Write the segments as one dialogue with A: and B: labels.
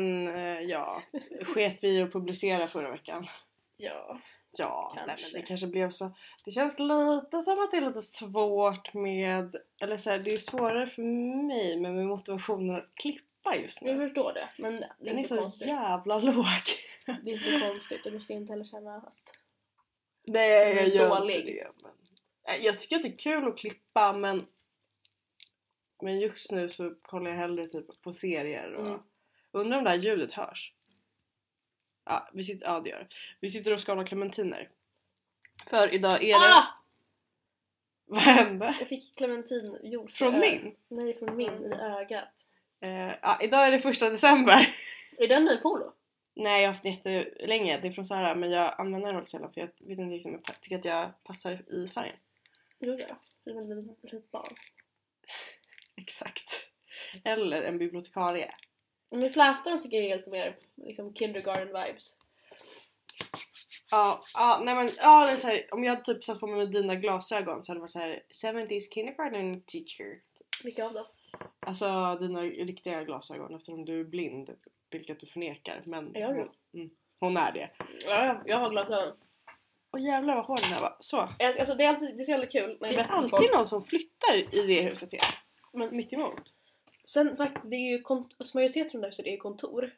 A: eh, ja, sket vi i att publicera förra veckan?
B: Ja.
A: Ja,
B: Kanske.
A: Nej, men det kanske blev så. Det känns lite som att det är lite svårt med, eller så här, det är svårare för mig men med motivationen att klippa just
B: Jag
A: nu.
B: förstår det. Men Mm. det är,
A: Den är
B: inte,
A: så
B: konstigt.
A: jävla låg.
B: det är inte så konstigt. Och du ska inte heller känna att...
A: Nej,
B: Den är
A: jag gör
B: dålig.
A: inte det. Men... Nej, Jag tycker att det är kul att klippa men men just nu så kollar jag hellre typ på serier och
B: Mm.
A: undrar om det här ljudet hörs. Ja, vi sitter, ja det gör det. Vi sitter och skalar clementiner. För idag är det...
B: Ah!
A: Vad hände?
B: Jag fick clementinjuice. i
A: Från
B: ö-
A: min?
B: Nej, från min i ögat.
A: Eh, ja, idag är det första december.
B: Är den ny polo?
A: Nej jag har haft den jättelänge, det är från Zara men jag använder den väldigt sällan för jag vet inte riktigt om jag pa- tycker att jag passar i färgen.
B: Jo, ja. Det är väl ett litet barn.
A: Exakt. Eller en bibliotekarie.
B: Men flätorna tycker jag är helt mer liksom kindergarten vibes.
A: Ja, ja nej men ja, det är så här, om jag hade typ satt på mig med dina glasögon så hade det varit så här 70s kindergarten teacher.
B: Vilka av dem?
A: Alltså dina riktiga glasögon eftersom du är blind, vilket du förnekar. Men
B: Är jag det?
A: hon, mm, hon är det.
B: Ja, jag har glasögon.
A: Och jävlar vad hård den här var. Så.
B: Jag- Alltså, det, är alltid, det är så jävla kul när
A: Det
B: jag
A: är
B: berättar för
A: alltid
B: folk.
A: någon som flyttar i det huset igen.
B: Men-
A: Mitt emot.
B: Sen faktiskt, det är ju kont- alltså, majoriteten av de där är ju kontor.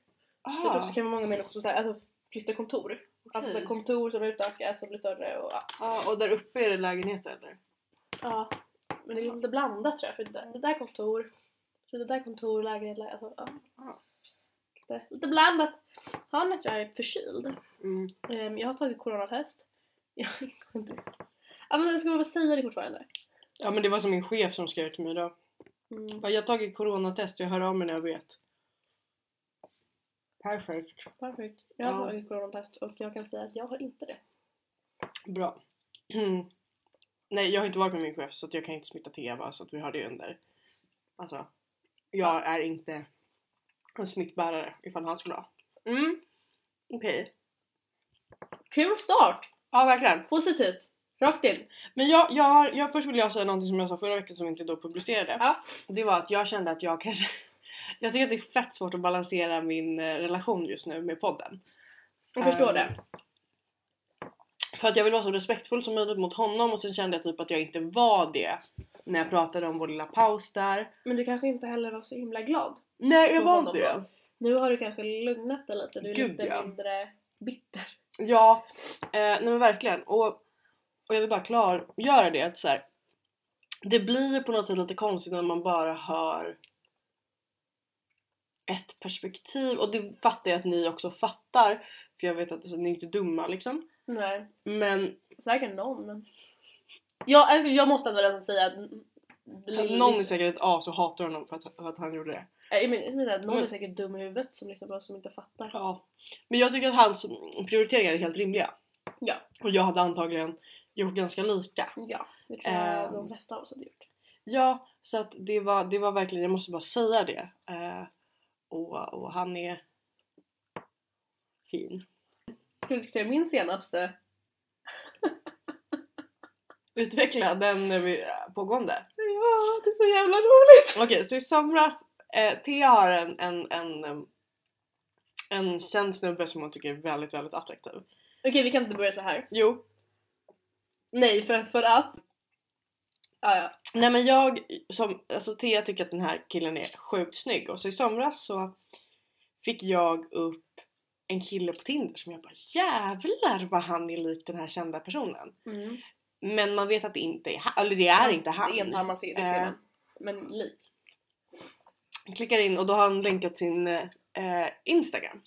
A: Ah,
B: Så
A: Mm.
B: det också kan vara många människor som så här, alltså, flyttar kontor. Alltså så här, kontor som utökas och blir större och ja.
A: ah, och där uppe är det lägenheter eller?
B: ja. Men det är lite blandat tror jag. För det, där, det där kontor, så det där kontor, lägenhet, lä- alltså, ja.
A: Ja.
B: Lite, lite blandat. Han att jag är förkyld.
A: Mm.
B: Ehm, jag har tagit coronatest. Jag går inte... Ja men ska man väl säga det fortfarande?
A: Ja men det var som min chef som skrev till mig idag.
B: Mm.
A: Bara, Jag har tagit coronatest, jag hör av mig när jag vet. Perfekt.
B: Perfekt. Jag har
A: Ja.
B: tagit coronatest och jag kan säga att jag har inte det.
A: Bra. Mm. Nej, jag har inte varit med min chef så att jag kan inte smitta Teva så att vi har det under. Alltså, jag är inte en smittbärare ifall han skulle ha. Mm. Okej.
B: Kul start!
A: Ja, verkligen.
B: Positivt! Rakt in!
A: Men jag, jag, har- jag, först vill jag säga någonting som jag sa förra veckan som inte då publicerade.
B: Ja.
A: Det var att jag kände att jag kanske... Jag tycker att det är fett svårt att balansera min eh, relation just nu med podden.
B: Jag förstår
A: Ehm,
B: det.
A: För att jag vill vara så respektfull som möjligt mot honom och sen kände jag typ att jag inte var det när jag pratade om vår lilla paus där.
B: Men du kanske inte heller var så himla glad.
A: Nej jag
B: Mot
A: var
B: honom
A: inte det.
B: Nu har du kanske lugnat dig lite. Du är
A: Gud,
B: lite
A: ja.
B: mindre bitter.
A: Ja, eh, nej men verkligen. Och, och jag vill bara klargöra det att så här, det blir på något sätt lite konstigt när man bara hör ett perspektiv och det fattar jag att ni också fattar för jag vet att alltså, ni är inte dumma liksom.
B: Nej.
A: Men
B: Säkert någon men... Jag, äh, jag måste ändå vara den som säger att...
A: någon är säkert ett as och hatar honom för att, för att han gjorde det.
B: Äh, Jag menar, jag menar, att någon
A: Men-
B: är säkert dum i huvudet som, liksom, bara- som inte fattar.
A: Ja. Men jag tycker att hans prioriteringar är helt rimliga.
B: Ja.
A: Och jag hade antagligen gjort ganska lika.
B: Ja, det tror jag
A: Ehm.
B: de flesta av oss hade gjort.
A: Ja, så att det var, det var verkligen, jag måste bara säga det. Eh, och, och han är fin.
B: Ska vi diskutera min senaste?
A: Utveckla den eh, vi- pågående.
B: Ja, det är så jävla roligt!
A: Okej, så i somras, eh, Thea har en, en, en, em, en känd snubbe som hon tycker är väldigt, väldigt attraktiv.
B: Okej, vi kan inte börja så här.
A: Jo,
B: Nej, för, för att... Ah, ja.
A: nej men jag, som, alltså Thea tycker att den här killen är sjukt snygg och så i somras så fick jag upp en kille på Tinder som jag bara jävlar vad han är lik den här kända personen.
B: Mm.
A: Men man vet att det inte är han. Eller det är inte han.
B: Det är inte han, man ser, det ser
A: Eh.
B: man. Men lik.
A: Klickar in och då har han länkat sin eh, Instagram.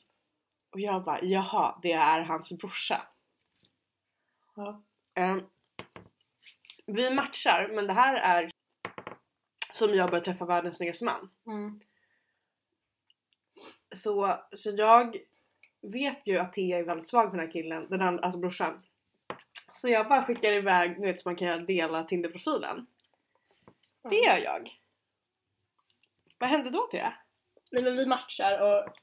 A: Och jag bara jaha, det är hans brorsa.
B: Ja.
A: Eh, vi matchar men det här är som jag börjar träffa världens snyggaste man.
B: Mm.
A: Så, så jag vet ju att Thea är väldigt svag för den här killen, den andra, alltså brorsan. Så jag bara skickar iväg, nu vet så man kan dela Tinder-profilen. Det gör jag. Vad hände då Thea?
B: Nej men vi matchar och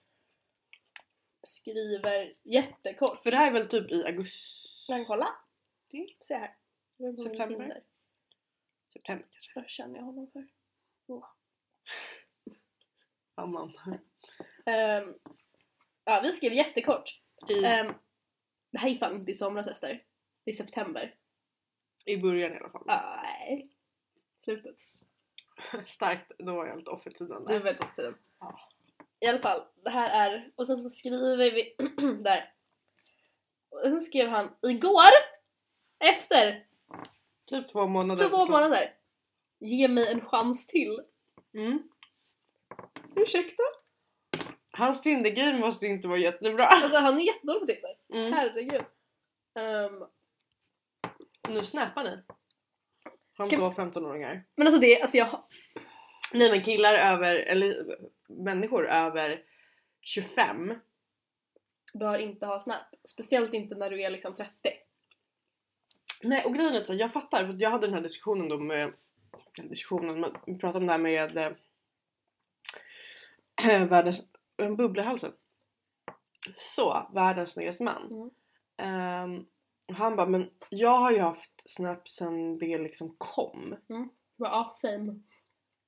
B: skriver jättekort.
A: För det här är väl typ i augusti?
B: Kan jag kolla?
A: Det.
B: Se här. Det var på min
A: September.
B: Tinder.
A: September kanske?
B: Vad känner jag honom för?
A: Ja, man.
B: Ehm, Ja, vi skrev jättekort.
A: I,
B: Ehm, det här är fan inte i somras Ester. Det är september.
A: I början i alla fall.
B: Nej. Slutet.
A: Starkt, då var jag lite off i tiden
B: Du är
A: där.
B: väldigt ofta den.
A: Ja.
B: I alla fall, det här är... Och sen så skriver vi där. Och sen skrev han igår efter
A: Typ två månader.
B: två månader. Ge mig en chans till.
A: Mm.
B: Ursäkta?
A: Hans Tinder-game måste ju inte vara jättebra.
B: Alltså han är jättedålig på Tinder.
A: Mm.
B: Herregud. Ehm,
A: Nu snappar ni. Han
B: Kan-
A: då 15-åringar.
B: men alltså det, alltså jag...
A: Nej men killar över, eller människor över 25.
B: bör inte ha Snap. Speciellt inte när du är liksom 30.
A: Nej och grejen är att så här, jag fattar för att jag hade den här diskussionen då med diskussionen, men vi pratade om det här med eh, världens, en bubbla i halsen. Så, världens snyggaste man.
B: Mm.
A: Ehm, och han bara, men jag har ju haft Snap sen det liksom kom.
B: Bara, ja, same.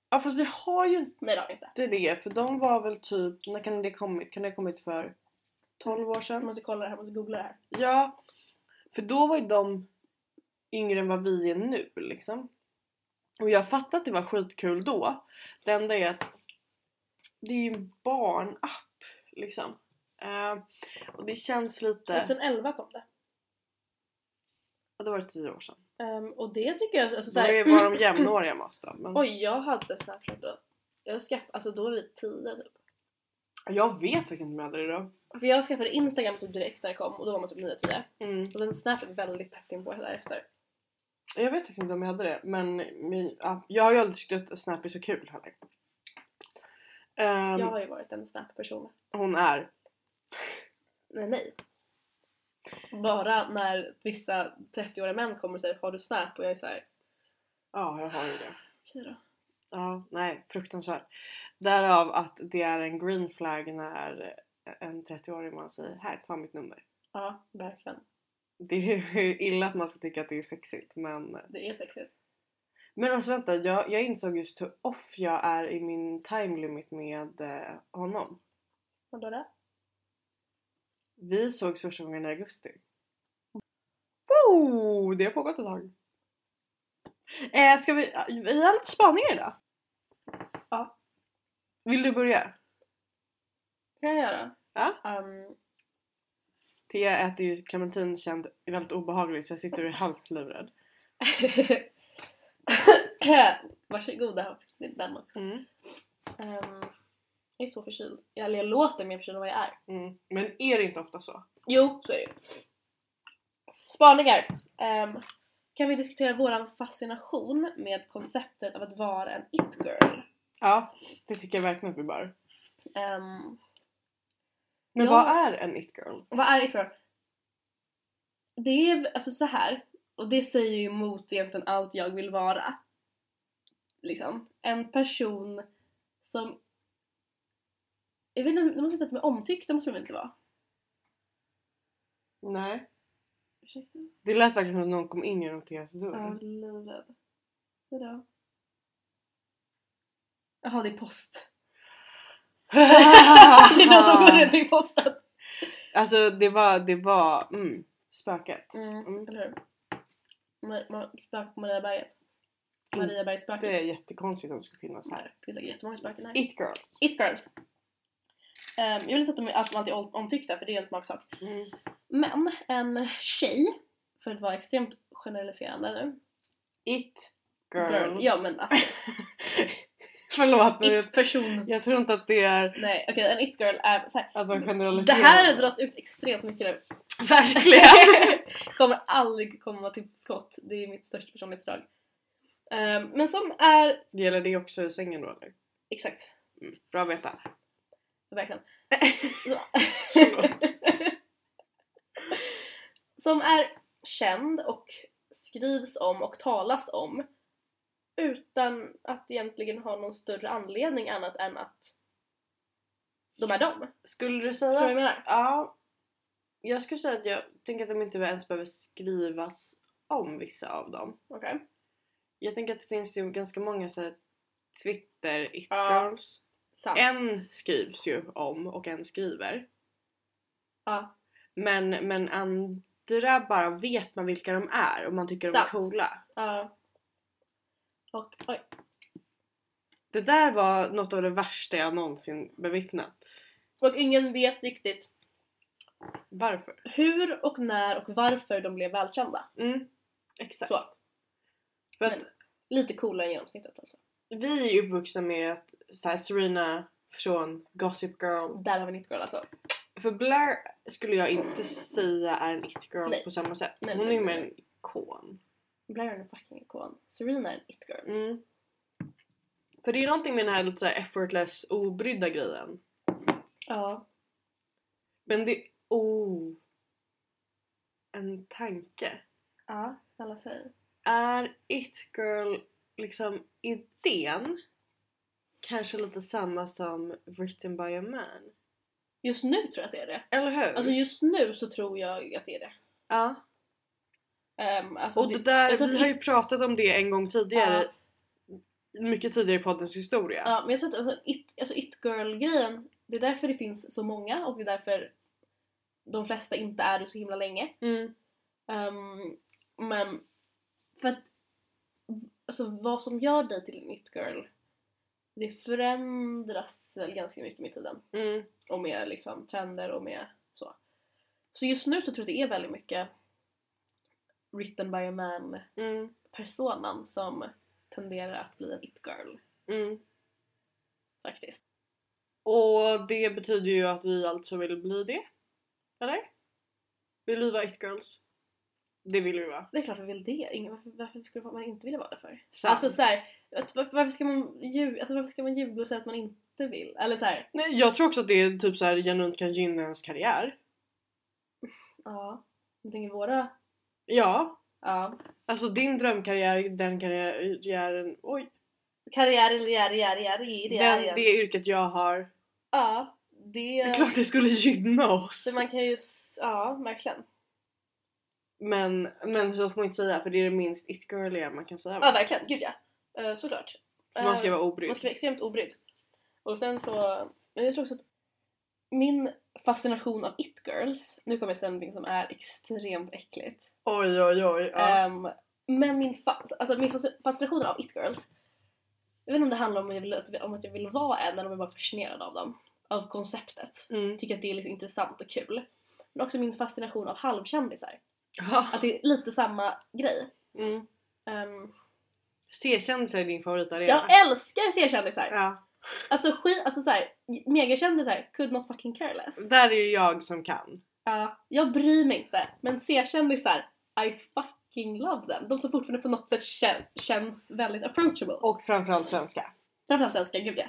A: Ja fast vi har ju inte
B: Nej det har jag inte.
A: det för de var väl typ, när kan det kommit? Kan det ha kommit för 12 år
B: Jag
A: sedan?
B: måste kolla det här, jag måste googla det här.
A: Ja, för då var ju de yngre än vad vi är nu liksom. Och jag fattar att det var skitkul då. Det enda är att det är ju en barnapp liksom. Eh, och det känns lite...
B: 2011 kom det.
A: Ja, det var det tio år sedan.
B: Ehm, och det tycker jag, alltså
A: Så det
B: såhär...
A: var de jämnåriga med oss då. Men
B: Oj, jag hade Snapchat då. Jag skaffade, alltså då var vi 10 typ.
A: jag vet faktiskt inte om jag hade det då.
B: För jag skaffade Instagram typ direkt när det kom och då var man typ 9-10.
A: Mm.
B: Och sen Snapchat väldigt tätt inpå därefter.
A: Jag vet faktiskt inte om jag hade det men men, ja, jag har ju aldrig tyckt att Snap är så kul heller. Ehm,
B: Jag har ju varit en Snap-person.
A: Hon är
B: Nej, nej. Bara när vissa 30-åriga män kommer och säger har du Snap? Och jag är såhär
A: Ja, jag har ju det.
B: okej då.
A: Ja, nej, fruktansvärt. Därav att det är en green flag när en 30-årig man säger här, ta mitt nummer.
B: Ja, verkligen.
A: Det är ju illa att man ska tycka att det är sexigt men...
B: Det är sexigt.
A: Men alltså vänta, jag, jag insåg just hur off jag är i min time limit med eh, honom.
B: Vadå det?
A: Vi sågs första gången i augusti. Wow, det har pågått ett tag. Eh, ska vi... Vi har lite spaningar idag.
B: Ja.
A: Vill du börja?
B: kan jag göra.
A: Ja.
B: Ehm,
A: Thea äter ju clementin känd väldigt obehaglig så jag sitter och är halvt livrädd.
B: Varsågoda, det är den också.
A: Mm.
B: Ehm, jag är så förkyld. Jag, eller jag låter mer förkyld än vad jag är.
A: Mm. Men är det inte ofta så?
B: Jo, så är det ju. Spaningar! Ehm, kan vi diskutera våran fascination med konceptet av att vara en it-girl?
A: Ja, det tycker jag verkligen att vi bör.
B: Ehm,
A: Men
B: Ja.
A: vad är en it-girl?
B: vad är it-girl? Det är alltså så här och det säger ju emot egentligen allt jag vill vara. Liksom. En person som... Jag vet inte, de måste inte vara omtyckt, det måste de inte vara.
A: Nej.
B: Ursäkta?
A: Det lät verkligen som att någon kom in genom Theas
B: Ja,
A: dörr.
B: jag är livrädd. Vadå? Jaha, det är post. det är någon som går runt i posten.
A: alltså det var, det var, mm, spöket. Mm.
B: Mm, eller hur? Mar- Mar- Spöket på Mariaberget.
A: Mm.
B: Mariabergsspöket.
A: Det är jättekonstigt om det skulle finnas här.
B: Nej, det finns säkert jättemånga spöken här.
A: It-girls.
B: It girls. Ehm, jag vill inte säga att de är att de alltid är om- omtyckta för det är en smaksak.
A: Mm.
B: Men en tjej, för att vara extremt generaliserande nu.
A: It-girl.
B: Ja men alltså,
A: Förlåt men jag,
B: it-person.
A: jag tror inte att det är
B: Nej okej, en it-girl är såhär.
A: att man
B: Det
A: generaliserar.
B: här dras ut extremt mycket nu.
A: Verkligen!
B: Kommer aldrig komma till skott. Det är mitt största personlighetsdrag. Ehm, men som är,
A: Gäller det också i sängen då eller?
B: exakt,
A: Mm. Bra att veta.
B: verkligen.
A: Förlåt.
B: som är känd och skrivs om och talas om utan att egentligen ha någon större anledning annat än att de är dem.
A: Skulle du
B: Förstår du vad jag
A: säga...
B: menar?
A: Ja. Jag skulle säga att jag tänker att de inte ens behöver skrivas om vissa av dem.
B: Okej.
A: Jag tänker att det finns ju ganska många så här, Twitter
B: Ja.
A: it-girls.
B: Sant.
A: En skrivs ju om och en skriver.
B: Ja.
A: Men, men andra bara vet man vilka de är och man tycker
B: Sant.
A: de är coola.
B: ja. Och oj.
A: Det där var något av det värsta jag någonsin bevittnat.
B: Och ingen vet riktigt
A: Varför?
B: hur och när och varför de blev välkända.
A: Mm. Exakt.
B: Så.
A: För att
B: Men- Lite coolare än genomsnittet alltså.
A: vi är ju uppvuxna med att så här, Serena från Gossip Girl.
B: Där har vi 90 alltså.
A: För Blair skulle jag inte säga är en it-girl
B: Nej.
A: på samma sätt.
B: Nej,
A: Hon
B: nej,
A: är ju
B: nej,
A: mer en ikon.
B: Blair är en fucking ikon. Serena är en it-girl.
A: Mm. För det är ju någonting med den här lite så här effortless, obrydda grejen.
B: Ja.
A: Men det... Oh! En tanke.
B: Ja, snälla säg.
A: Är It Girl liksom idén kanske lite samma som Written by a Man?
B: Just nu tror jag att det är det.
A: Eller hur?
B: Alltså just nu så tror jag att det är det.
A: ja.
B: Ehm, alltså
A: Och det där,
B: jag tror
A: vi
B: att
A: har ju
B: It-
A: pratat om det en gång tidigare. Mycket tidigare i poddens historia.
B: Ja, men jag tror att alltså, it, alltså it girl-grejen, det är därför det finns så många och det är därför de flesta inte är det så himla länge.
A: Mm.
B: Ehm, men för att alltså, vad som gör dig till en it girl det förändras väl ganska mycket med tiden
A: Mm.
B: och med liksom trender och med så. Så just nu så tror jag att det är väldigt mycket written by a man
A: Mm.
B: personan som tenderar att bli en it girl
A: Mm.
B: faktiskt.
A: Och det betyder ju att vi alltså vill bli det. Eller? Vill vi vara It Girls? Det vill vi vara.
B: Det är klart vi vill det. Ingen, varför, varför skulle man inte vilja vara det för?
A: Sant.
B: Alltså såhär, varför, varför, ska man ljuga, alltså, varför ska man ljuga och säga att man inte vill? Eller såhär,
A: Nej, jag tror också att det är typ så här genuint kan gynna ens karriär.
B: ja. Jag tänker våra,
A: Ja,
B: ja.
A: alltså din drömkarriär, den karriären, oj,
B: Karriär, karriär, karriär, karriär.
A: den, det yrket jag har.
B: Ja,
A: Det
B: det...
A: är klart det skulle gynna oss.
B: Så man kan ju, s- ja verkligen.
A: Men, men så får man inte säga för det är det minst it-girliga man kan säga.
B: Ja verkligen, gud ja. Eh, såklart.
A: För man ska
B: Eh,
A: vara
B: Man
A: obrydd.
B: ska vara extremt obrydd. Och sen så, men jag tror också att min fascination av it-girls, nu kommer jag säga någonting som är extremt äckligt.
A: Oj oj oj. Ja.
B: Ehm, men min, fa- alltså min fas- fascination av it-girls, jag vet inte om det handlar om att, jag vill, att vi- om att jag vill vara en eller om jag bara är fascinerad av dem. Av konceptet.
A: Mm.
B: Jag tycker att det är liksom intressant och kul. Men också min fascination av halvkändisar.
A: Ja.
B: Att det är lite samma grej.
A: Mm.
B: Ehm,
A: C-kändisar är din favoritarena.
B: jag älskar C-kändisar!
A: Ja.
B: Alltså skit, alltså såhär, megakändisar, could not fucking care less.
A: Där är ju jag som kan.
B: Ja, jag bryr mig inte. Men C-kändisar, I fucking love them. De som fortfarande på något sätt kän- känns väldigt approachable.
A: Och framförallt svenska.
B: Framförallt svenska, gud ja.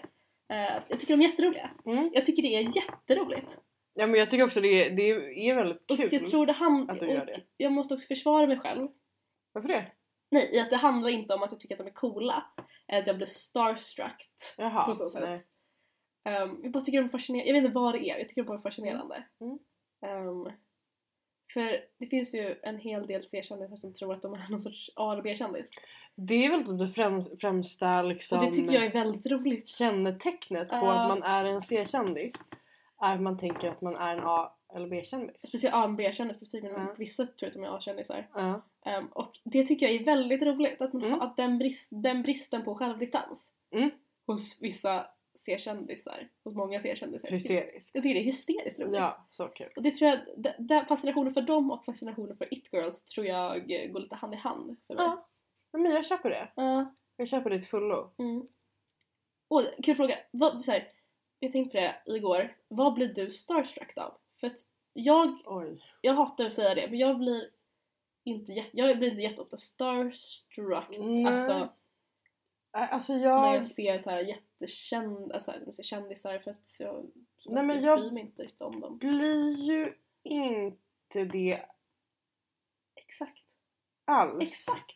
B: Eh, jag tycker de är jätteroliga.
A: Mm.
B: Jag tycker det är jätteroligt.
A: Ja men jag tycker också det är, det är väldigt
B: Och
A: kul.
B: jag tror det handlar...
A: att de gör
B: Och
A: det.
B: jag måste också försvara mig själv.
A: Varför det?
B: Nej, i att det handlar inte om att jag tycker att de är coola. Eller att jag blir starstruck.
A: Jaha.
B: På så sätt.
A: nej.
B: Ehm, jag bara tycker de är fascinerande. Jag vet inte vad det är, jag tycker de bara är fascinerande.
A: Mm.
B: Ehm, för det finns ju en hel del C-kändisar som tror att de är någon sorts A eller B-kändis.
A: Det är väl typ det främ- främsta liksom,
B: Och det tycker jag är väldigt roligt.
A: kännetecknet på
B: Ja.
A: att man är en C-kändis. Är att man tänker att man är en A eller B-kändis.
B: Speciellt A och B-kändis, specifikt men
A: Ja.
B: vissa tror att de är A-kändisar.
A: Ja.
B: Ehm, och det tycker jag är väldigt roligt, att, man
A: Mm.
B: har, att den, brist, den bristen på självdistans
A: Mm.
B: hos vissa C-kändisar, hos många C-kändisar. Jag,
A: Hysterisk.
B: jag tycker det är hysteriskt roligt.
A: Ja, så kul.
B: Och det tror jag, d- d- fascinationen för dem och fascinationen för it-girls tror jag eh, går lite hand i hand för mig.
A: Ja. Nej, men jag köper det.
B: Ja,
A: Jag köper det till fullo.
B: mm. Och kul fråga, vad, så här, jag tänkte på det igår, vad blir du starstruck av? För att jag
A: Oj.
B: jag hatar att säga det men jag blir inte, jä- jag blir inte jätteofta starstruck
A: Nej.
B: alltså,
A: Nej, Alltså
B: när
A: jag...
B: jag ser så här jättekänd, alltså, jag ser kändisar för att jag, så
A: Nej,
B: att
A: men
B: jag
A: jag-
B: bryr mig inte riktigt om dem.
A: blir ju inte det
B: Exakt.
A: alls
B: Exakt!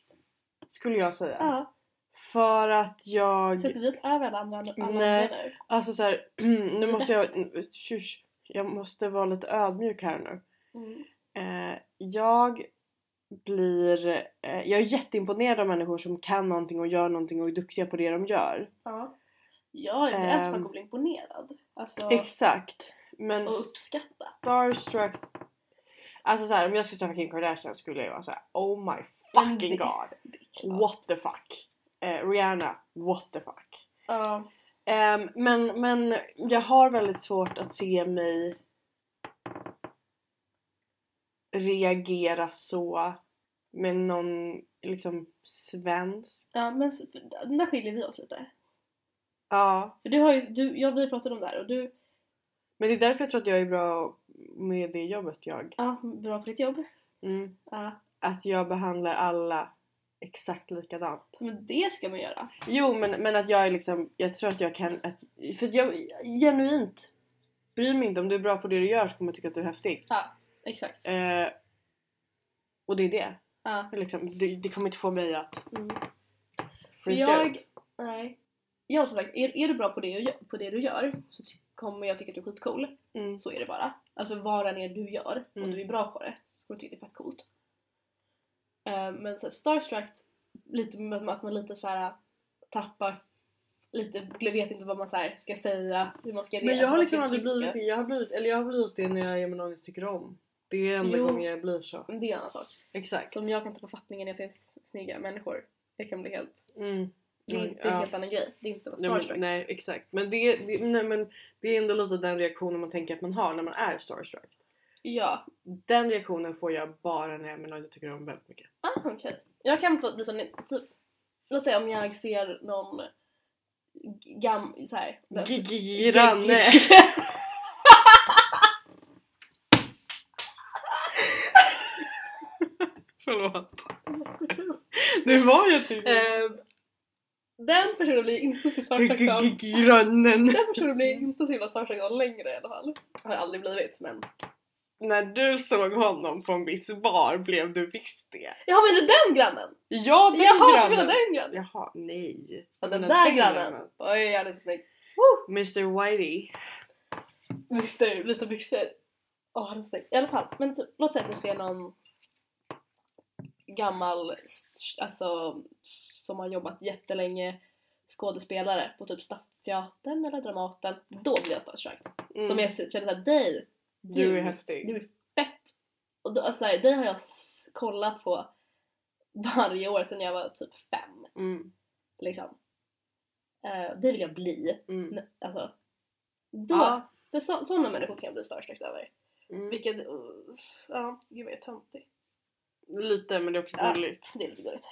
A: skulle jag säga.
B: Ja.
A: För att jag...
B: Sätter vi oss över alla andra, alla
A: Nej.
B: andra nu?
A: Alltså så här, nu måste jag... Tjus, jag måste vara lite ödmjuk här nu.
B: Mm.
A: Eh, jag blir... Eh, jag är jätteimponerad av människor som kan någonting och gör någonting och är duktiga på det de gör.
B: Ja. Ja, det är en
A: Ehm.
B: sak att bli imponerad. Alltså,
A: Exakt. Men
B: och uppskatta.
A: starstruck... Alltså såhär om jag skulle träffa Kim Kardashian skulle jag vara såhär oh my
B: Men
A: fucking
B: det-
A: god.
B: det är klart.
A: What the fuck. Eh, Rihanna, what the fuck.
B: Ja.
A: Ehm, men, men jag har väldigt svårt att se mig reagera så med någon liksom svensk.
B: ja, men så- för- där skiljer vi oss lite.
A: Ja,
B: För du har ju, du, jag, vi pratade om det här och du,
A: men det är därför jag tror att jag är bra med det jobbet jag.
B: ja, bra på ditt jobb.
A: Mm.
B: Ja,
A: Att jag behandlar alla exakt likadant.
B: men det ska man göra.
A: Jo, men, men att jag är liksom, jag tror att jag kan, att, för jag genuint bryr mig inte. Om du är bra på det du gör så kommer jag tycka att du är häftig.
B: Ja, exakt.
A: Eh, och det är det.
B: Ja.
A: Liksom, det, det kommer inte få mig att
B: Mm.
A: freaka
B: jag,
A: ut.
B: nej. Jag tror faktiskt, är, är du bra på det, du gör- på det du gör så ty- kommer jag tycka att du är skitcool.
A: Mm.
B: Så är det bara. Alltså vad det än är du gör, om
A: Mm.
B: du är bra på det så kommer du tycka att det är fett coolt. Eh, men så här, starstruck, lite med att man lite så här tappar lite, vet inte vad man så här ska säga, hur man ska
A: Men
B: reagera,
A: jag har
B: vad man
A: liksom
B: ska
A: aldrig
B: tycka.
A: blivit det. Jag har blivit, eller jag har blivit det när jag är med någon jag tycker om. Det är enda
B: Jo.
A: gången jag blir så.
B: Men det är en annan sak.
A: Exakt.
B: Som jag kan tappa fattningen när jag ser s- snygga människor. Jag kan bli helt...
A: Mm.
B: Det är,
A: Oj,
B: det är en
A: ja.
B: helt annan grej. Det är inte att
A: Nej,
B: vara
A: men,
B: starstruck.
A: nej exakt. Men det, det, nej, men det är ändå lite den reaktionen man tänker att man har när man är starstruck.
B: Ja,
A: Den reaktionen får jag bara när jag är med någon jag tycker om väldigt mycket.
B: ah, okej. Jag kan få bli sån, typ, låt säga om jag ser någon g- gam... Så här,
A: Gigi Ranne! Förlåt. Det var ju typ...
B: Ehm, den personen blir inte så starstruck av.
A: Gigi Rannen!
B: Den personen blir inte så himla starstruck av längre i alla fall. Har jag aldrig blivit men.
A: När du såg honom på en viss bar blev du visst det.
B: Jaha menar du den grannen?
A: Ja, den
B: Jaha, så menar
A: grannen!
B: den grannen?
A: Jaha, nej.
B: Ja,
A: Jag
B: den
A: menar
B: där grannen! Oj, han är så snygg.
A: Mr Whitey.
B: Mister vita byxor. Åh, han är så snygg. I alla fall, men typ, låt säga att jag ser någon gammal, st- alltså som har jobbat jättelänge skådespelare på typ Stadsteatern eller Dramaten. Då blir jag starstruck.
A: Mm.
B: Som jag ser- känner såhär, dig,
A: du är
B: du
A: häftig.
B: är fett! Och då, alltså, så här, dig har jag s- kollat på varje år sedan jag var typ fem.
A: Mm,
B: Liksom. Eh, det vill jag bli.
A: mm.
B: N- Alltså, då,
A: Ja.
B: för så, sådana människor kan jag bli starstruck över.
A: Mm.
B: Vilket, uh, ja, gud vad jag är töntig.
A: Lite men det är också
B: Ja.
A: gulligt.
B: Det är lite gulligt.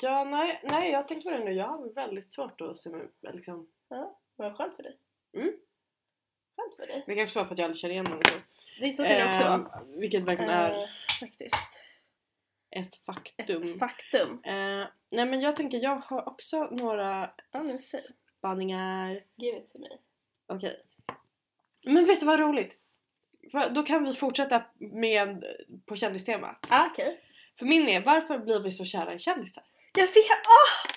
A: Ja, nej, nej jag tänkte på det nu. Jag har väldigt svårt att se mig ut, liksom.
B: Vad skönt för dig.
A: Mm.
B: Skönt för dig.
A: Det kanske var för att jag aldrig känner igen någon.
B: Det är så kan det också vara.
A: Ehm, Vilket verkligen är
B: Eh, faktiskt.
A: ett
B: Ett
A: faktum.
B: faktum.
A: Ehm, nej men jag tänker, jag har också några
B: Ja men säg.
A: spaningar.
B: Ge det till mig.
A: Okej. Men vet du vad roligt? Va- Då kan vi fortsätta med på kändistema.
B: Ah, okej.
A: För min är, varför blir vi så kära i kändisar?
B: Jag vet! Åh!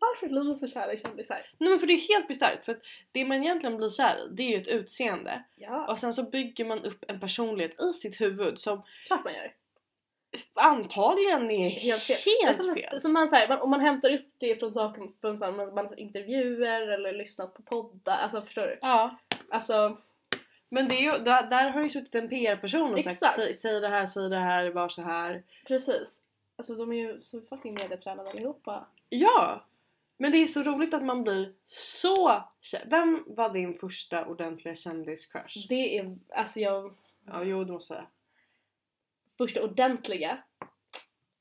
B: Varför blir man så kär i kändisar?
A: Nej men för det är helt bisarrt för att det man egentligen blir kär i det är ju ett utseende
B: Ja,
A: och sen så bygger man upp en personlighet i sitt huvud som
B: klart man gör.
A: antagligen är
B: Helt fel. Alltså,
A: Helt
B: som,
A: fel.
B: Som man, så här, man, om man hämtar upp det från saker från man, man, man intervjuer eller lyssnat på poddar. Alltså förstår du?
A: Ja.
B: Alltså,
A: Men det är ju, där, där har ju suttit en PR-person och sagt
B: Exakt.
A: säg, säg det här, säg det här, var så här.
B: precis. Alltså de är ju så fucking mediatränade allihopa.
A: Ja! Men det är så roligt att man blir så kär. Vem var din första ordentliga kändiscrush?
B: Det är, alltså jag,
A: Ja, jo det måste jag säga.
B: första ordentliga,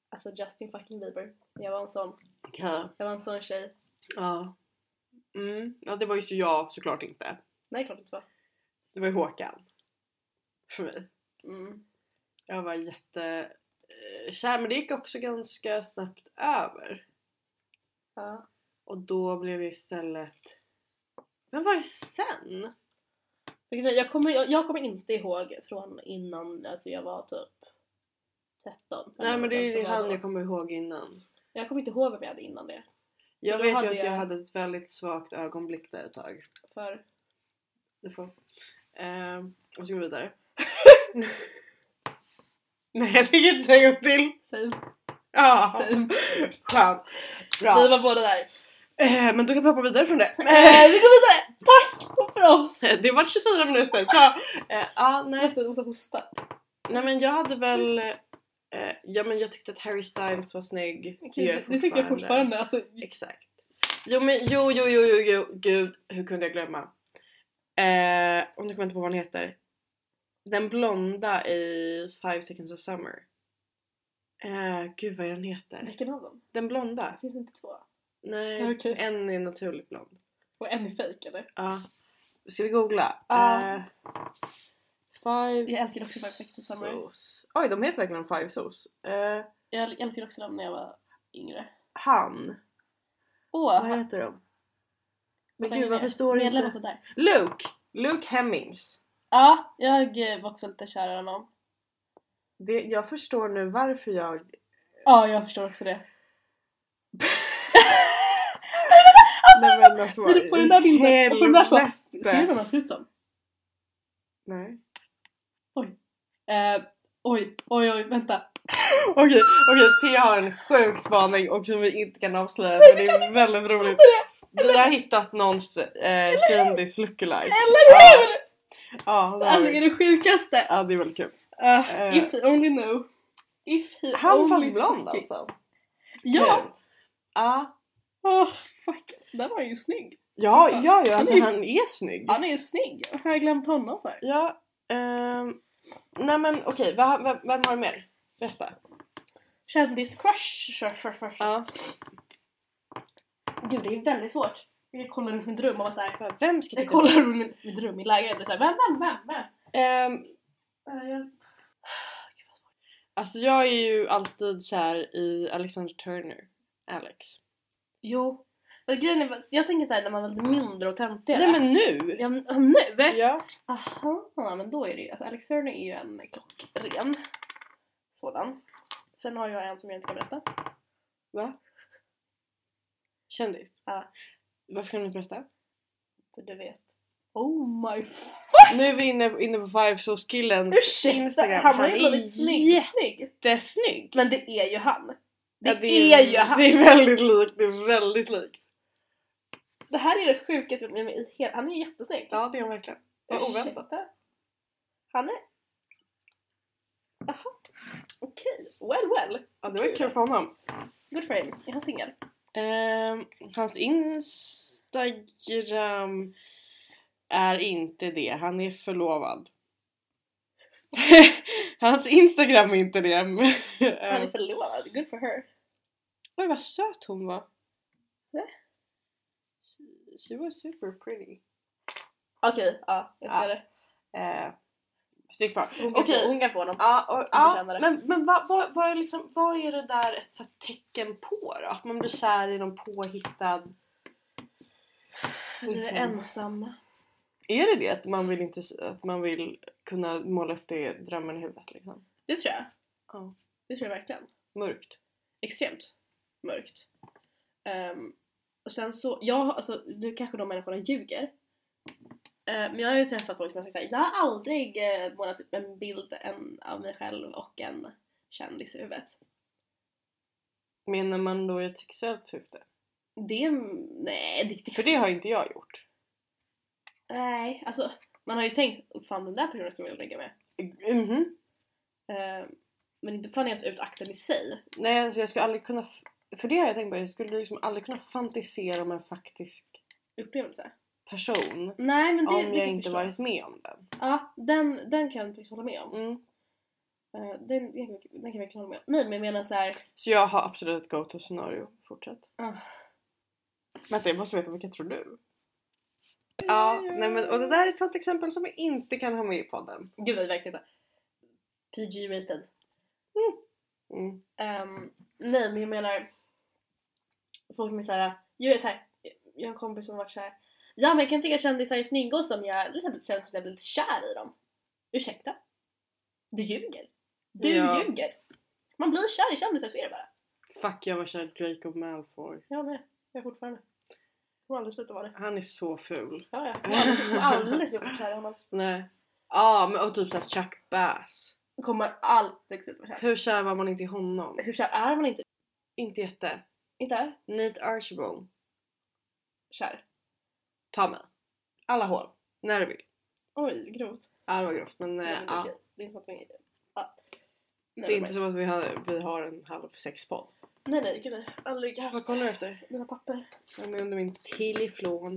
B: alltså Justin fucking Bieber. Jag var en sån,
A: Okej.
B: jag var en sån tjej.
A: Ja. Mm. Ja, det var just jag såklart inte.
B: Nej klart det inte var.
A: Det var ju Håkan. För mig.
B: Mm.
A: Jag var jätte eh, kär men det gick också ganska snabbt över.
B: Ja.
A: Och då blev jag istället... Vem var det sen?
B: Men grejen är, Jag kommer, jag, jag kommer inte ihåg från innan, alltså jag var typ 13.
A: Nej men det
B: Vem
A: är
B: som
A: ju
B: var
A: han
B: då.
A: jag kommer ihåg innan.
B: Jag kommer inte ihåg vem jag hade innan det.
A: Jag
B: då
A: vet
B: hade
A: ju att jag...
B: jag-
A: hade ett väldigt svagt ögonblick där ett tag.
B: För
A: Du får... Ehm, och så går vi vidare. Nej jag tänker inte säga en gång till!
B: same,
A: Ja!
B: same.
A: Skönt! Bra!
B: Vi var båda där.
A: Eh, men då kan vi hoppa vidare från det.
B: Eh, vi går vidare! Tack för oss!
A: Eh, det var 24 minuter. Ja, eh, ah, nej.
B: Nästan, jag måste hosta.
A: nej men jag hade väl... Eh, ja men jag tyckte att Harry Styles var snygg.
B: Okej,
A: gör
B: det, det tycker jag fortfarande. Alltså,
A: Exakt. Jo men jo jo jo jo, jo gud hur kunde jag glömma? Eh, och nu kommer jag inte på vad han heter. Den blonda i Five seconds of summer. Eh, gud vad är den heter?
B: vilken av dem?
A: Den blonda?
B: Det finns inte två.
A: Nej,
B: Okej.
A: en är naturligt blond.
B: Och en är fejk eller?
A: Ja. Ska vi googla?
B: Ja.
A: Eh, five...
B: Jag älskar också Five Seconds of Summer.
A: Sos. Oj, de heter verkligen Five Sos. Eh,
B: Jag älskade också dem när jag var yngre.
A: han.
B: Åh!
A: Vad heter de? Men
B: vänta,
A: gud,
B: jag
A: varför
B: vet.
A: står det
B: Medlem och
A: inte...
B: sånt där.
A: Luke! Luke Hemmings.
B: Ja, jag eh, var också lite kär i honom.
A: Det, jag förstår nu varför jag...
B: Ja, jag förstår också det.
A: Nej, men alltså,
B: När du på den där bilden och på den där så, ser du
A: helvete.
B: vem han ser ut som?
A: Nej.
B: Eh, oj, oj, oj, vänta.
A: Okej, okej. Thea har en sjuk spaning och som vi inte kan avslöja men det är väldigt roligt. Vi har hittat någons eh, kändis lookalike. Ah,
B: Eller hur?
A: Ja, det har
B: Alltså är
A: vi.
B: det sjukaste!
A: ja, det är väldigt kul.
B: Uh,
A: Eh.
B: if he only knew. If he
A: Han
B: only
A: fast blond
B: fucking-
A: alltså.
B: Ja!
A: Kul. Ja.
B: Åh fuck, där var han ju snygg.
A: Ja,
B: Fan.
A: ja, ja, alltså
B: Han är ju-
A: han är snygg.
B: Han är ju snygg, varför har jag glömt honom för?
A: Ja, ehm, nej men okej, vad- vad- vem har du mer? Berätta.
B: Kändis-crush! crush, crush, crush.
A: Ja.
B: Gud det är väldigt svårt. Jag kollar runt mitt rum och var såhär,
A: Vem ska
B: jag
A: tycka
B: kollar runt mitt- mitt rum i lägenheten och såhär, vem, vem, vem, vem?
A: Ehm,
B: Eh, jag-
A: alltså jag är ju alltid kär i Alexander Turner, Alex.
B: Jo. Men grejen är, jag tänker såhär när man var lite mindre och töntigare.
A: Nej men nu!
B: Ja, men- ja, nu!
A: Ja.
B: Aha, men då är det ju, alltså Alex Turner är ju en klockren sådan. Sen har jag en som jag inte kan berätta.
A: Va? Kändis?
B: Ja.
A: Varför kan du inte berätta?
B: För du vet. Oh my fuck!
A: Nu är vi inne, inne på Five Souls killens
B: Ursäkta!
A: Instagram.
B: Han har ju blivit snygg, snygg!
A: jättesnygg!
B: Men det är ju han! Det,
A: Ja,
B: är, ju han!
A: Det
B: Det,
A: är väldigt likt, det är väldigt likt.
B: här är det sjukaste jag varit med om i hela... Han är ju jättesnygg!
A: Ja det är han verkligen. Vad
B: Ursäkta.
A: oväntat.
B: Han är... Aha. Okej, well well!
A: Ja det var ju kul för honom.
B: Good for him. Är han singel?
A: Ehm, hans instagram är inte det, han är förlovad. hans instagram är inte det.
B: Han är
A: Ehm,
B: förlovad. Good for her.
A: Oj vad söt hon var.
B: Va?
A: She- She was super pretty.
B: Okej, ja. Jag ser
A: Ja.
B: det.
A: Eh, Stick kvar.
B: Hon kan,
A: Okej.
B: få, hon kan få honom.
A: Ja, och,
B: Hon
A: ja,
B: förtjänar det.
A: men, men vad, vad, vad, är liksom, vad är det där ett så här tecken på då? Att man blir kär i någon påhittad...
B: Du är
A: Liksom.
B: ensam.
A: Är det det? Att man vill, inte, att man vill kunna måla upp det i drömmen i huvudet liksom?
B: Det tror jag.
A: Ja.
B: Det tror jag verkligen.
A: Mörkt.
B: Extremt mörkt. Ehm, och sen så, jag har- alltså nu kanske de människorna ljuger. Eh, men jag har ju träffat folk som har sagt såhär, jag har aldrig eh, målat upp en bild en, av mig själv och en kändis i huvudet.
A: Menar man då i ett sexuellt syfte?
B: Det, nej det, det
A: För det har inte jag gjort.
B: Nej, alltså man har ju tänkt, "Åh, fan den där personen skulle jag vilja ligga med. Mm-hmm.
A: Mhm.
B: Ehm, men inte planerat ut akten i sig.
A: Nej, alltså jag skulle aldrig kunna... f- För det har jag tänkt på, jag skulle liksom aldrig kunna fantisera om en faktisk
B: Upplevelse.
A: person.
B: Nej men det,
A: om
B: det kan
A: jag
B: jag
A: inte
B: förstå.
A: varit med om den.
B: Ja, den, den kan jag faktiskt hålla med om.
A: Mm.
B: Eh, den, den kan jag verkligen hålla med om. Nej men jag menar såhär,
A: Så jag har absolut go to scenario. Fortsätt.
B: Ah.
A: Vänta jag måste veta vilka tror du? Ja, nej men och det där är ett sånt exempel som vi inte kan ha med i podden.
B: gud nej verkligen inte. PG-rated.
A: Mm.
B: Ehm, nej men jag menar, folk som är såhär, jag är såhär, jag har en kompis som har varit såhär, ja men jag kan tycka kändisar är snygga och som jag, det känns som att jag blir lite kär i dem. Ursäkta? Du ljuger. Du
A: Ja.
B: ljuger. Man blir kär i kändisar så är det bara.
A: Fuck jag var kär i Draco Malfoy.
B: Jag med, jag är fortfarande. Kommer aldrig sluta vara det.
A: Han är så ful.
B: Ja, ja. Kommer aldrig sluta- kommer aldrig sluta vara kär i honom.
A: Nej. Ja men och typ såhär Chuck Bass.
B: Kommer alltid sluta vara kär.
A: Hur kär var man inte i honom?
B: Hur kär är man inte?
A: Inte jätte.
B: Inte?
A: Nate Archibald.
B: kär.
A: Ta mig. Alla hål. När du vill.
B: Oj, grovt.
A: Ja det var grovt men eh,
B: Nej, men det är
A: ja.
B: okej. Det är inte som att man inte... Ja.
A: Det är
B: Nej,
A: inte
B: nej,
A: som att vi har, vi har en halv sex podd.
B: nej, nej, gud nej. Aldrig
A: Vad
B: haft
A: kollar du efter?
B: mina papper.
A: Den är under min tillifrån.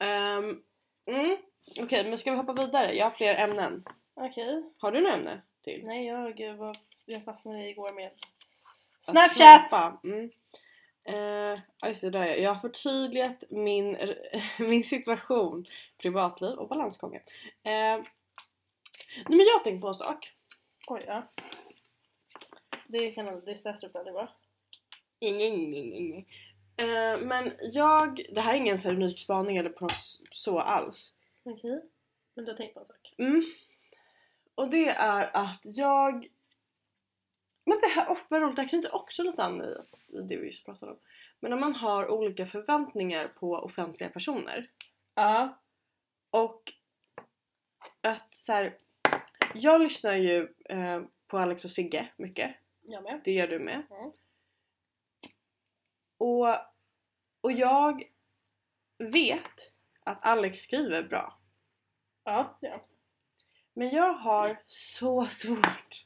A: Um, mm, Okej men ska vi hoppa vidare? Jag har fler ämnen.
B: Okej.
A: Har du några ämne till?
B: Nej, jag, eh, var, jag fastnade igår med
A: Att
B: Snapchat!
A: snappa. Mm. Eh, ja, just det, där. är jag. jag har förtydligat min, min situation, privatliv och balansgången. Eh, nej men jag har tänkt på en sak.
B: Oj, ja. Det kan aldrig bli stressrutande va?
A: Nej, nej, nej, nej, nej. Eh, men jag, det här är ingen så här unik spaning eller på något s- så alls.
B: Okej. Men du har tänkt på en sak?
A: Mm. Och det är att jag... Men det här vad roligt, det här knyter också lite an i i det vi just pratade om. Men när man har olika förväntningar på offentliga personer.
B: Ja.
A: Och att så här, jag lyssnar ju eh, på Alex och Sigge mycket.
B: Jag med.
A: Det gör du med.
B: Mm.
A: Och, och jag vet att Alex skriver bra.
B: Ja, ja.
A: Men jag har så svårt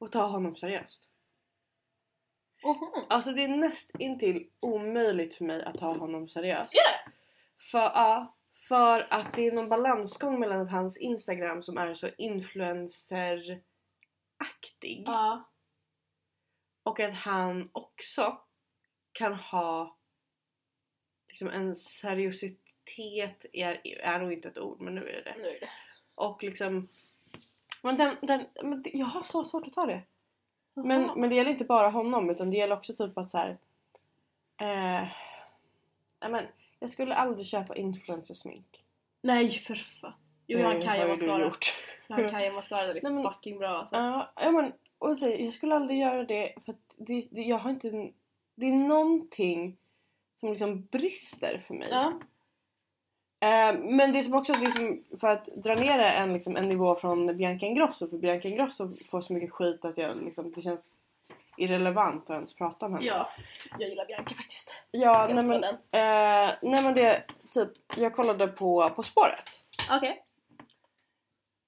A: att ta honom seriöst.
B: Mhm.
A: Alltså det är näst intill omöjligt för mig att ta honom seriöst.
B: Är det?
A: För, ja, för att det är någon balansgång mellan att hans instagram som är så influenceraktig
B: Ja.
A: och att han också kan ha liksom en seriositet är, är nog inte ett ord men nu är det det.
B: Nu är det.
A: Och liksom men, den, den, men det- jag har så svårt att ta det. Men,
B: Jaha.
A: men det gäller inte bara honom utan det gäller också typ att så här. Eh, nej men, jag skulle aldrig köpa influencersmink.
B: Nej för fan. Jo jag har en
A: Det Eh, har
B: Kaja
A: ju du
B: mascara.
A: gjort.
B: Jag har en Kaja mascara, den
A: Nej, men-
B: är fucking bra alltså.
A: Ja, ja, men och så, jag skulle aldrig göra det för att det, det, jag har inte... en- Det är någonting som liksom brister för mig.
B: Ja.
A: Eh, men det som också, det som, för att dra ner det en, liksom, en nivå från Bianca Ingrosso, för Bianca Ingrosso får så mycket skit att jag, liksom, det känns irrelevant att ens prata om henne.
B: Ja. Jag gillar Bianca faktiskt.
A: Ja,
B: Ska jag
A: nej, men,
B: ta den?
A: eh, nej men det, typ, jag kollade på På spåret.
B: Okej.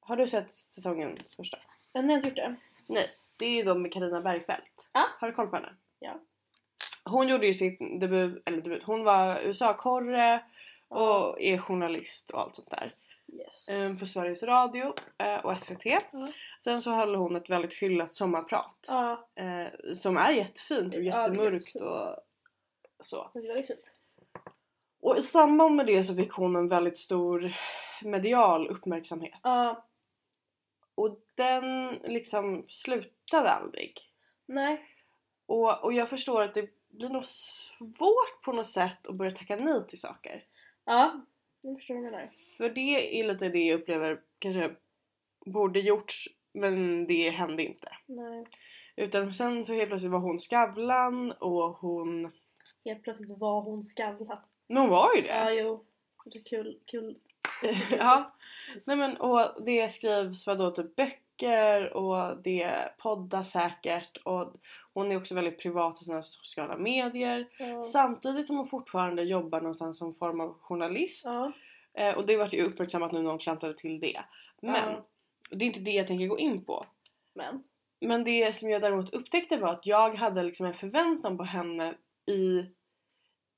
A: Har du sett säsongens första?
B: Men ni har inte gjort det?
A: Det är ju då med Karina Bergfeldt.
B: Ja.
A: Har du koll på henne?
B: Ja.
A: Hon gjorde ju sin debut, eller debut, hon var USA-korre och är journalist och allt sånt där.
B: Yes.
A: Ehm, För Sveriges Radio eh, och SVT.
B: Mm.
A: Sen så höll hon ett väldigt hyllat sommarprat.
B: Ja.
A: eh, Som är jättefint och
B: Ja, det är
A: jättemörkt
B: jättefint.
A: och så.
B: Det är väldigt fint.
A: Och i samband med det så fick hon en väldigt stor medial uppmärksamhet.
B: Ja.
A: Och den liksom slutade aldrig.
B: Nej.
A: Och, och jag förstår att det blir nog svårt på något sätt att börja tacka nej till saker.
B: Ja. Jag förstår vad du menar.
A: För det är lite det jag upplever kanske borde gjorts men det hände inte.
B: Nej.
A: Utan sen så helt plötsligt var hon Skavlan och hon...
B: Helt plötsligt var hon Skavlan.
A: Men hon var ju
B: Ja,
A: det!
B: jo. Det är kul. kul.
A: ja. Nej men och det skrivs vadå typ böcker och det poddas säkert och hon är också väldigt privat i sina sociala medier.
B: Ja.
A: Samtidigt som hon fortfarande jobbar någonstans som form av journalist.
B: Ja.
A: Eh, och det vart ju uppmärksammat nu när hon klantade till det. Men
B: Ja.
A: det är inte det jag tänker gå in på.
B: Men.
A: Men det som jag däremot upptäckte var att jag hade liksom en förväntan på henne i,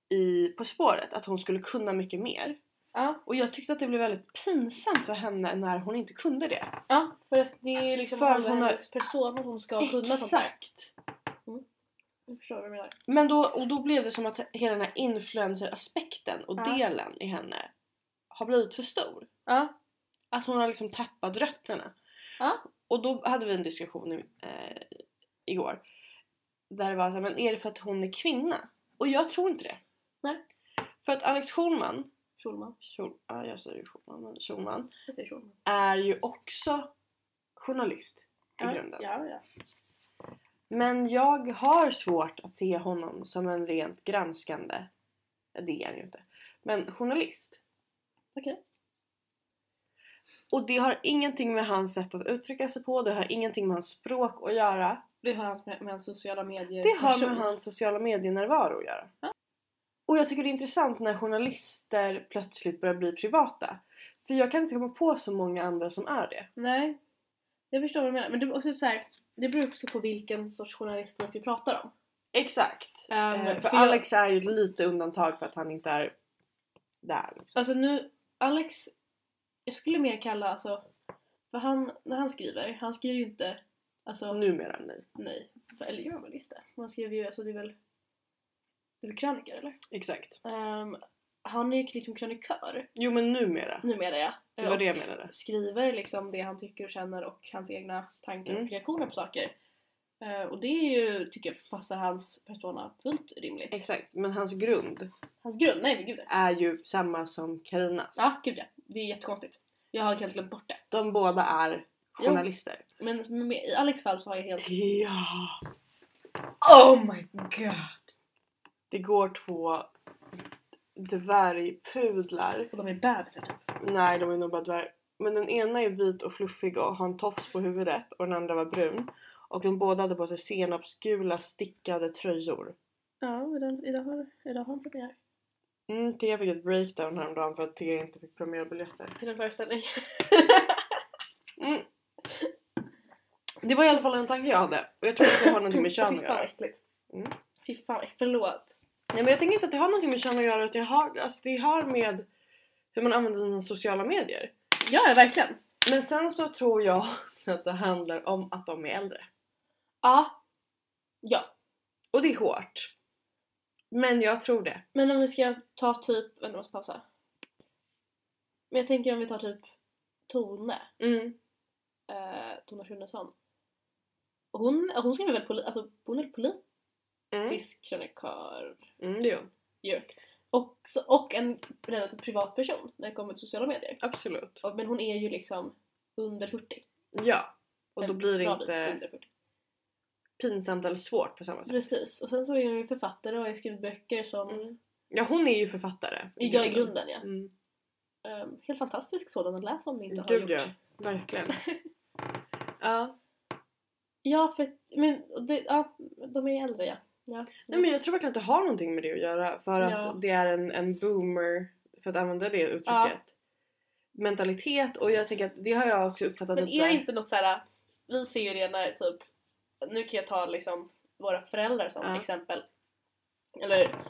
A: i På spåret. Att hon skulle kunna mycket mer.
B: Ja.
A: Och jag tyckte att det blev väldigt pinsamt för henne när hon inte kunde det.
B: Ja. För det- det är ju liksom
A: För att
B: halva
A: hon har-
B: hennes person att hon ska kunna sånt där.
A: Exakt!
B: Jag förstår vad du menar.
A: Men då, och då blev det som att hela den här influencer-aspekten och
B: Ja.
A: delen i henne har blivit för stor.
B: Ja.
A: Att hon har liksom tappat rötterna.
B: Ja.
A: Och då hade vi en diskussion eh, igår. Där det var såhär, men är det för att hon är kvinna? Och jag tror inte det.
B: Nej.
A: För att Alex Schulman,
B: Schulman.
A: Schul, ja, jag säger ju Schulman, men Schulman
B: Jag säger Schulman.
A: är ju också journalist i
B: Ja.
A: grunden.
B: Ja, ja.
A: Men jag har svårt att se honom som en rent granskande, det är han ju inte, men journalist.
B: Okej.
A: Och det har ingenting med hans sätt att uttrycka sig på, det har ingenting med hans språk att göra.
B: Det har hans med, med hans sociala medier.
A: Det har
B: person.
A: med hans sociala medier-närvaro att göra. Och jag tycker det är intressant när journalister plötsligt börjar bli privata. För jag kan inte komma på så många andra som är det.
B: Nej. Jag förstår vad du menar. Men det, också så här, det beror också på vilken sorts journalistik vi pratar om.
A: Exakt.
B: Ehm,
A: Eh, för
B: för jag-
A: Alex är ju lite undantag för att han inte är där. Liksom.
B: Alltså nu, Alex, jag skulle mer kalla alltså, för han, när han skriver, han skriver ju inte, alltså
A: Numera nej.
B: nej, eller gör han väl just det? Man skriver ju, alltså det är väl, det är väl krönikor eller?
A: Exakt.
B: Ehm, han är ju liksom krönikör,
A: Jo men numera.
B: numera ja.
A: Det var det jag menade.
B: skriver liksom det han tycker och känner och hans egna tankar
A: Mm.
B: och reaktioner på saker. Eh, och det är ju, tycker jag, passar hans persona fullt rimligt.
A: Exakt. Men hans grund
B: Hans grund, nej men gud nej.
A: är ju samma som Karinas.
B: Ja, gud ja. Det är jättekonstigt. Jag har helt glömt bort det.
A: De båda är journalister.
B: Men men i Alex fall så har jag helt...
A: Ja.
B: Oh my god!
A: Det går två dvärgpudlar.
B: Och de är bebisar typ.
A: Nej de är nog bara dvärg. Men den ena är vit och fluffig och har en tofs på huvudet och den andra var brun. Och de båda hade på sig senapsgula stickade tröjor.
B: Ja, idag, idag, har, idag har de premiär.
A: Mm, Thea fick ett breakdown häromdagen för att Thea inte fick premiärbiljetter.
B: Till en föreställning.
A: Mm. Det var i alla fall en tanke jag hade och jag tror att det har någonting med kön att
B: Fy fan vad
A: göra.
B: äckligt.
A: Mm.
B: Fy fan, vad äck- förlåt.
A: Nej men jag tänker inte att det har någonting med kön att göra utan jag har, alltså, det har med hur man använder sina sociala medier.
B: Ja, ja, verkligen.
A: Men sen så tror jag att det handlar om att de är äldre.
B: Ja. Ja.
A: Och det är hårt. Men jag tror det.
B: Men om vi ska ta typ, vänta jag måste pausa. Men jag tänker om vi tar typ Tone,
A: Mm.
B: eh, Tone Schunnesson. Hon, hon skriver väl poli, alltså, hon är politisk
A: Mm.
B: krönikör
A: Mm, det gör hon.
B: ju. Och, så- och en relativt privat person när det kommer till sociala medier.
A: Absolut.
B: Och- Men hon är ju liksom under 40.
A: Ja. Och då
B: En
A: blir det
B: bra bit
A: inte
B: Under 40.
A: pinsamt eller svårt på samma sätt.
B: Precis, och sen så är hon ju författare och har skrivit böcker som,
A: Mm. Ja hon är ju författare.
B: ja i grunden ja.
A: Mm.
B: Ehm, helt fantastisk sådan att läsa om ni inte har
A: Gud
B: gjort.
A: ja. Verkligen. ja.
B: Ja, för att- men och det, ja, de är äldre ja. ja.
A: Nej men jag tror verkligen att det har någonting med det att göra för att
B: Ja.
A: det är en, en boomer, för att använda det uttrycket.
B: Ja.
A: Mentalitet och jag tänker att det har jag också uppfattat
B: men
A: lite.
B: är det inte något såhär, vi ser ju det när typ, nu kan jag ta liksom våra föräldrar som
A: Ja.
B: exempel. Eller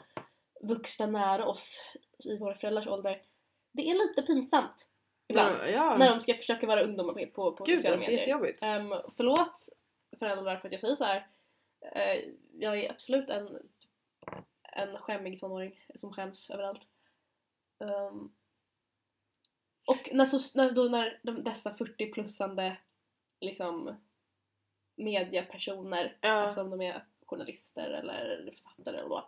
B: vuxna nära oss i våra föräldrars ålder. Det är lite pinsamt ibland
A: Ja, ja.
B: när de ska försöka vara ungdomar på, på, på
A: Gud, det
B: sociala
A: är
B: medier.
A: jättejobbigt.
B: Um, förlåt föräldrar för att jag säger så här. Eh, jag är absolut en, en skämmig tonåring som skäms överallt. Ehm, och när, så, när, då, när de, dessa 40-plussande liksom, mediepersoner,
A: Ja.
B: alltså om de är journalister eller författare eller vad,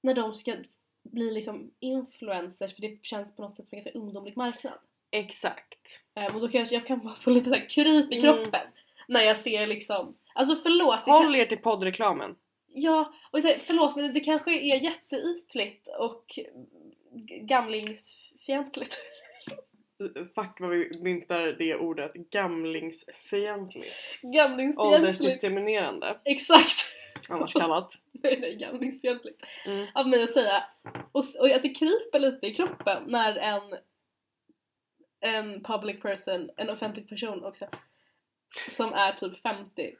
B: när de ska bli liksom influencers, för det känns på något sätt som en ganska ungdomlig marknad.
A: Exakt.
B: Ehm, och då kanske jag kan bara få lite så här kryp i
A: Mm.
B: kroppen när jag ser liksom, alltså förlåt, det kan,
A: Håll er till poddreklamen.
B: ja, och så här, förlåt men det kanske är jätteytligt och g- gamlingsfientligt.
A: Fuck vad vi myntar det ordet. Gamlingsfientligt.
B: Gamlingsfientligt.
A: Åldersdiskriminerande.
B: Exakt!
A: Annars kallat.
B: nej, nej, gamlingsfientligt.
A: Mm.
B: Av mig att säga. Och, s- och att det kryper lite i kroppen när en en public person, en offentlig person också som är typ 50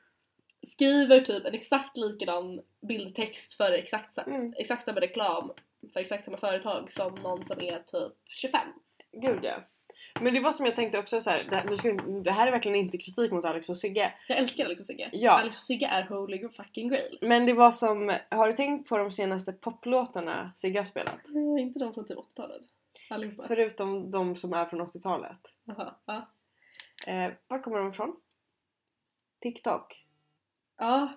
B: skriver typ en exakt likadan bildtext för exakt, sa-
A: Mm.
B: exakt samma reklam för exakt samma företag som någon som är typ 25.
A: Gud ja. Men det var som jag tänkte också så här, det, här, nu ska, vi- det här är verkligen inte kritik mot Alex och Sigge.
B: Jag älskar Alex och Sigge.
A: Ja.
B: Alex och Sigge är holy fucking grail.
A: Men det var som, har du tänkt på de senaste poplåtarna Sigge har spelat?
B: Eh, Inte de från typ 80-talet. Allihopa.
A: Förutom de som är från 80-talet.
B: Jaha, Ja.
A: Eh, var kommer de ifrån? TikTok.
B: ja,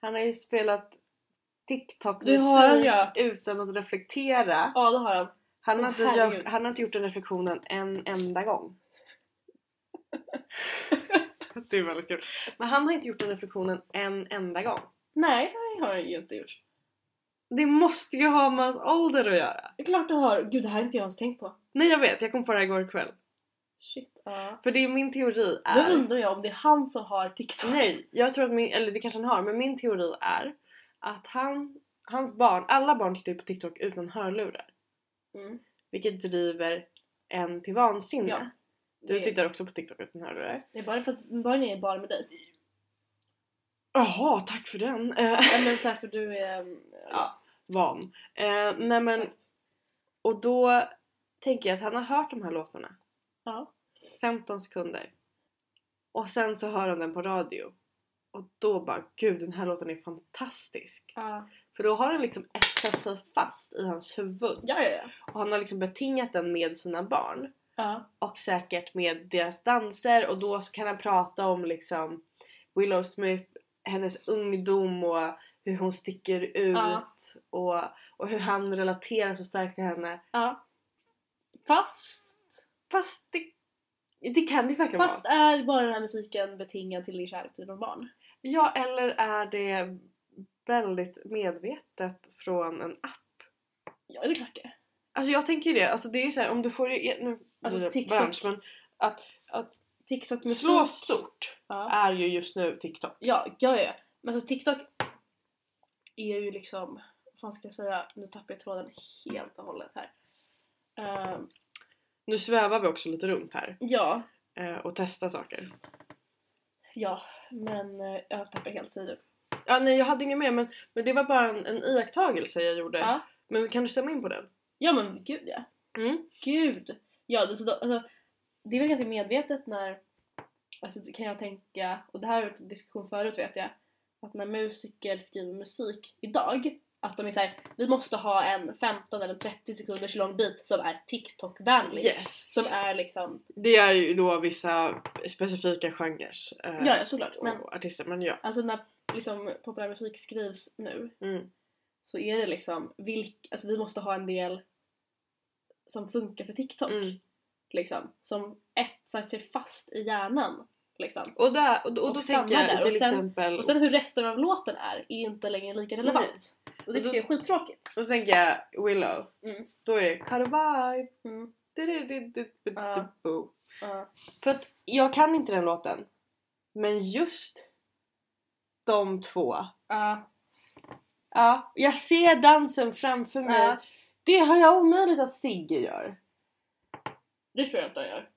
A: Han har ju spelat
B: Det har han,
A: TikTok-musik
B: ja.
A: utan att reflektera.
B: ja det har han.
A: Han har,
B: Åh,
A: inte
B: herregud.
A: gjort, han har inte gjort den reflektionen en enda gång. det är väldigt kul. Men han har inte gjort den reflektionen en enda gång.
B: Nej, det har jag ju inte gjort.
A: Det måste ju ha med hans ålder att göra.
B: Det är klart det har. Gud, det här har inte jag ens tänkt på.
A: Nej jag vet, jag kom på det här igår kväll.
B: Shit. Ja.
A: För det är min teori
B: Då
A: är...
B: undrar jag om det är han som har TikTok.
A: Nej, jag tror att min, eller det kanske han har, men min teori är att han hans barn, alla barn tittar ju på TikTok utan hörlurar.
B: Mm.
A: Vilket driver en till vansinne.
B: Ja.
A: Du
B: det,
A: tittar också på TikTok utan hörlurar.
B: det är bara för att barnen är bara med dig.
A: Jaha, tack för den. Eh,
B: Ja, men så här, för du är... mm,
A: Ja, van. Eh, nej men,
B: exakt.
A: och då tänker jag att han har hört de här låtarna.
B: Ja.
A: 15 sekunder. Och sen så hör han den på radio. Och då bara, gud den här låten är fantastisk.
B: Ja.
A: För då har den liksom etsat sig fast i hans huvud.
B: Ja, ja, ja.
A: Och han har liksom betingat den med sina barn.
B: ja.
A: och säkert med deras danser och då så kan han prata om liksom Willow Smith, hennes ungdom och hur hon sticker ut
B: Ja.
A: och, och hur han relaterar så starkt till henne.
B: ja. Fast,
A: Fast det, det kan det ju verkligen
B: fast
A: vara.
B: är bara den här musiken betingad till din kärlek till dina barn?
A: Ja, eller är det väldigt medvetet från en app?
B: Ja, det är klart det
A: Alltså jag tänker ju det, alltså det är ju såhär om du får det, nu
B: Alltså,
A: blir det
B: TikTok.
A: bransch, men att
B: TikTok-musik...
A: slå stort
B: Ja.
A: är ju just nu TikTok.
B: Ja, ja, ja. Men alltså TikTok är ju liksom, vad fan ska jag säga, nu tappar jag tråden helt och hållet här. Ehm,
A: Nu svävar vi också lite runt här
B: ja,
A: eh, och testar saker.
B: ja, men eh, jag tappar helt sidor.
A: Ja, nej jag hade inget mer men, men det var bara en, en iakttagelse jag gjorde.
B: Ja.
A: Men kan du stämma in på den?
B: ja, men gud ja.
A: Mm.
B: Gud! Ja, det, så då, alltså, det är väl ganska medvetet när, alltså det kan jag tänka, och det här har varit en diskussion förut vet jag, att när musiker skriver musik idag, att de är såhär, vi måste ha en 15 eller 30 sekunders lång bit som är TikTok-vänlig.
A: Yes!
B: Som är liksom,
A: Det är ju då vissa specifika genrer eh,
B: ja ja såklart, men
A: och artister. Men ja.
B: alltså när liksom populärmusik skrivs nu
A: Mm.
B: så är det liksom, vilk, alltså vi måste ha en del som funkar för TikTok.
A: Mm.
B: Liksom, som etsar sig fast i hjärnan. Liksom.
A: Och, där, och, och då
B: Och stanna
A: tänker jag
B: där,
A: till
B: och sen-
A: exempel...
B: Och sen hur resten av låten är, är inte längre lika relevant. Och det tycker jag är skittråkigt.
A: då tänker jag Willow.
B: Mm.
A: Då är det Cut a vibe.
B: Mm.
A: du-du-du-du-du-du-du.
B: Ja. Ja.
A: För att jag kan inte den låten. Men just de två.
B: Ja.
A: Ja, jag ser dansen framför mig.
B: Ja.
A: Det har jag omöjligt att Sigge gör.
B: det tror jag inte de gör.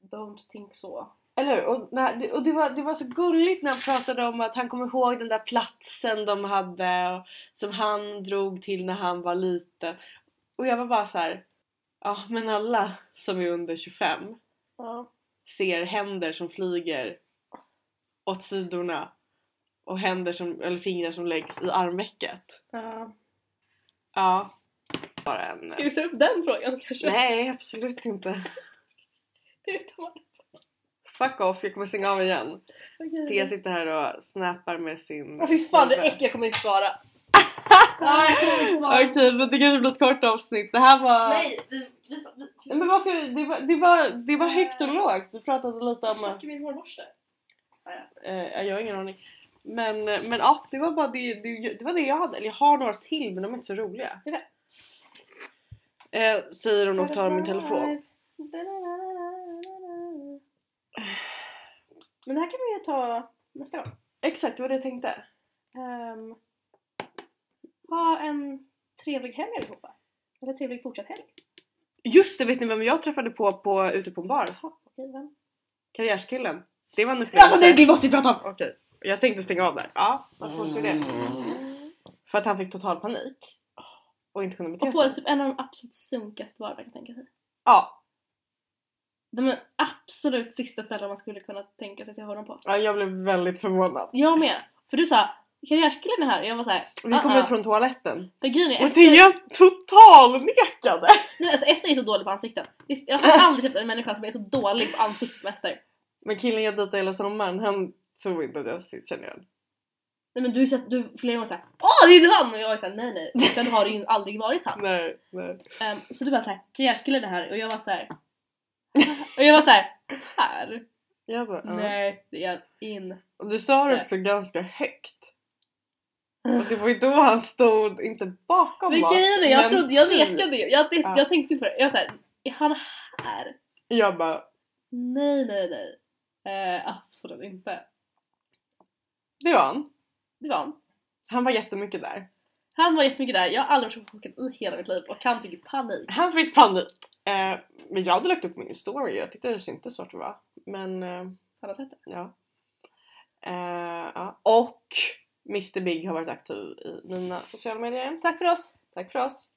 B: Don't think so.
A: Eller hur? Och, när- det- och det, var, det var så gulligt när han pratade om att han kom ihåg den där platsen de hade och, som han drog till när han var liten. Och jag var bara så här. Ja, men alla som är under 25
B: Ja.
A: ser händer som flyger åt sidorna och händer som, eller fingrar som läggs i armvecket.
B: Ja.
A: Ja, bara en...
B: Ska vi ta upp den frågan kanske?
A: Nej, absolut inte.
B: Det tar man.
A: Fuck off, jag kommer stänga av igen. Thea
B: Okej.
A: sitter här och snappar med sin...
B: Åh fy fan det är
A: snubbe.
B: äckligt, jag kommer inte svara. Nej jag kommer inte svara.
A: Okej, men det kanske blir ett kort avsnitt. Det här var...
B: Nej, vi, vi, vi,
A: Nej, Men vad ska vi... Det var, det var, det
B: Eh.
A: var högt och lågt. Vi pratade lite om...
B: Fuck min hårborste.
A: Eh, jag har ingen aning. Men, eh, men ja, det var bara det, det, det var det jag hade. Eller jag har några till men de är inte så roliga.
B: Just
A: Eh, säger hon och tar min telefon.
B: Men det här kan vi ju ta nästa gång.
A: Exakt, det var det jag tänkte.
B: Ehm, ha en trevlig helg allihopa. Eller trevlig fortsatt helg.
A: Just det, vet ni vem jag träffade på, på ute på en bar?
B: Jaha, okej vem?
A: Karriärskillen. Det var en upplevelse.
B: Alltså nej, det måste vi prata om!
A: Okej, jag tänkte stänga av där. Ja, varför måste vi det? För att han fick total panik. Och inte kunde bete
B: Och på
A: sig.
B: typ en av de absolut sunkigaste barer man kan tänka sig.
A: Ja,
B: Den absolut sista ställen man skulle kunna tänka sig att se honom på.
A: ja, jag blev väldigt förvånad.
B: Jag med! För du sa karriärskillen är här och jag var såhär
A: Vi kom ut från toaletten.
B: För grejen är
A: Och
B: Ester,
A: Thea totalnekade!
B: nej, alltså, Ester är så dålig på ansikten. Det- Jag har aldrig träffat en människa som är så dålig på ansiktet som Ester.
A: Men killen jag dejtade hela sommaren, han tror inte att jag känner igen.
B: Nej men du har ju sett, du flera gånger såhär Åh det är ju han! Och jag är såhär nej nej. Och sen har det ju aldrig varit han.
A: Nej, nej.
B: Ehm, så du bara såhär, karriärskillen är här och jag var såhär Och jag var såhär, här?
A: Jag bara, ja.
B: Nej det är in
A: Och du sa det också ganska högt. Och det var ju då han stod, inte bakom
B: Men
A: oss.
B: grejen är, jag
A: men
B: trodde, jag
A: typ.
B: nekade ju, jag, det,
A: Ja.
B: jag tänkte inte på det, jag var såhär, är han här?
A: Jag bara,
B: Nej nej nej Eh, Absolut inte
A: det var han.
B: Det var han
A: Han var jättemycket där.
B: Han var jättemycket där, jag har aldrig varit så chockad i hela mitt liv och han fick panik.
A: Han fick panik. Eh, men jag hade lagt upp min story jag tyckte det syntes vart det var. Men eh,
B: Han har sett det.
A: ja. Eh, ja. Och Mr Big har varit aktiv i mina sociala medier.
B: Tack för oss!
A: Tack för oss.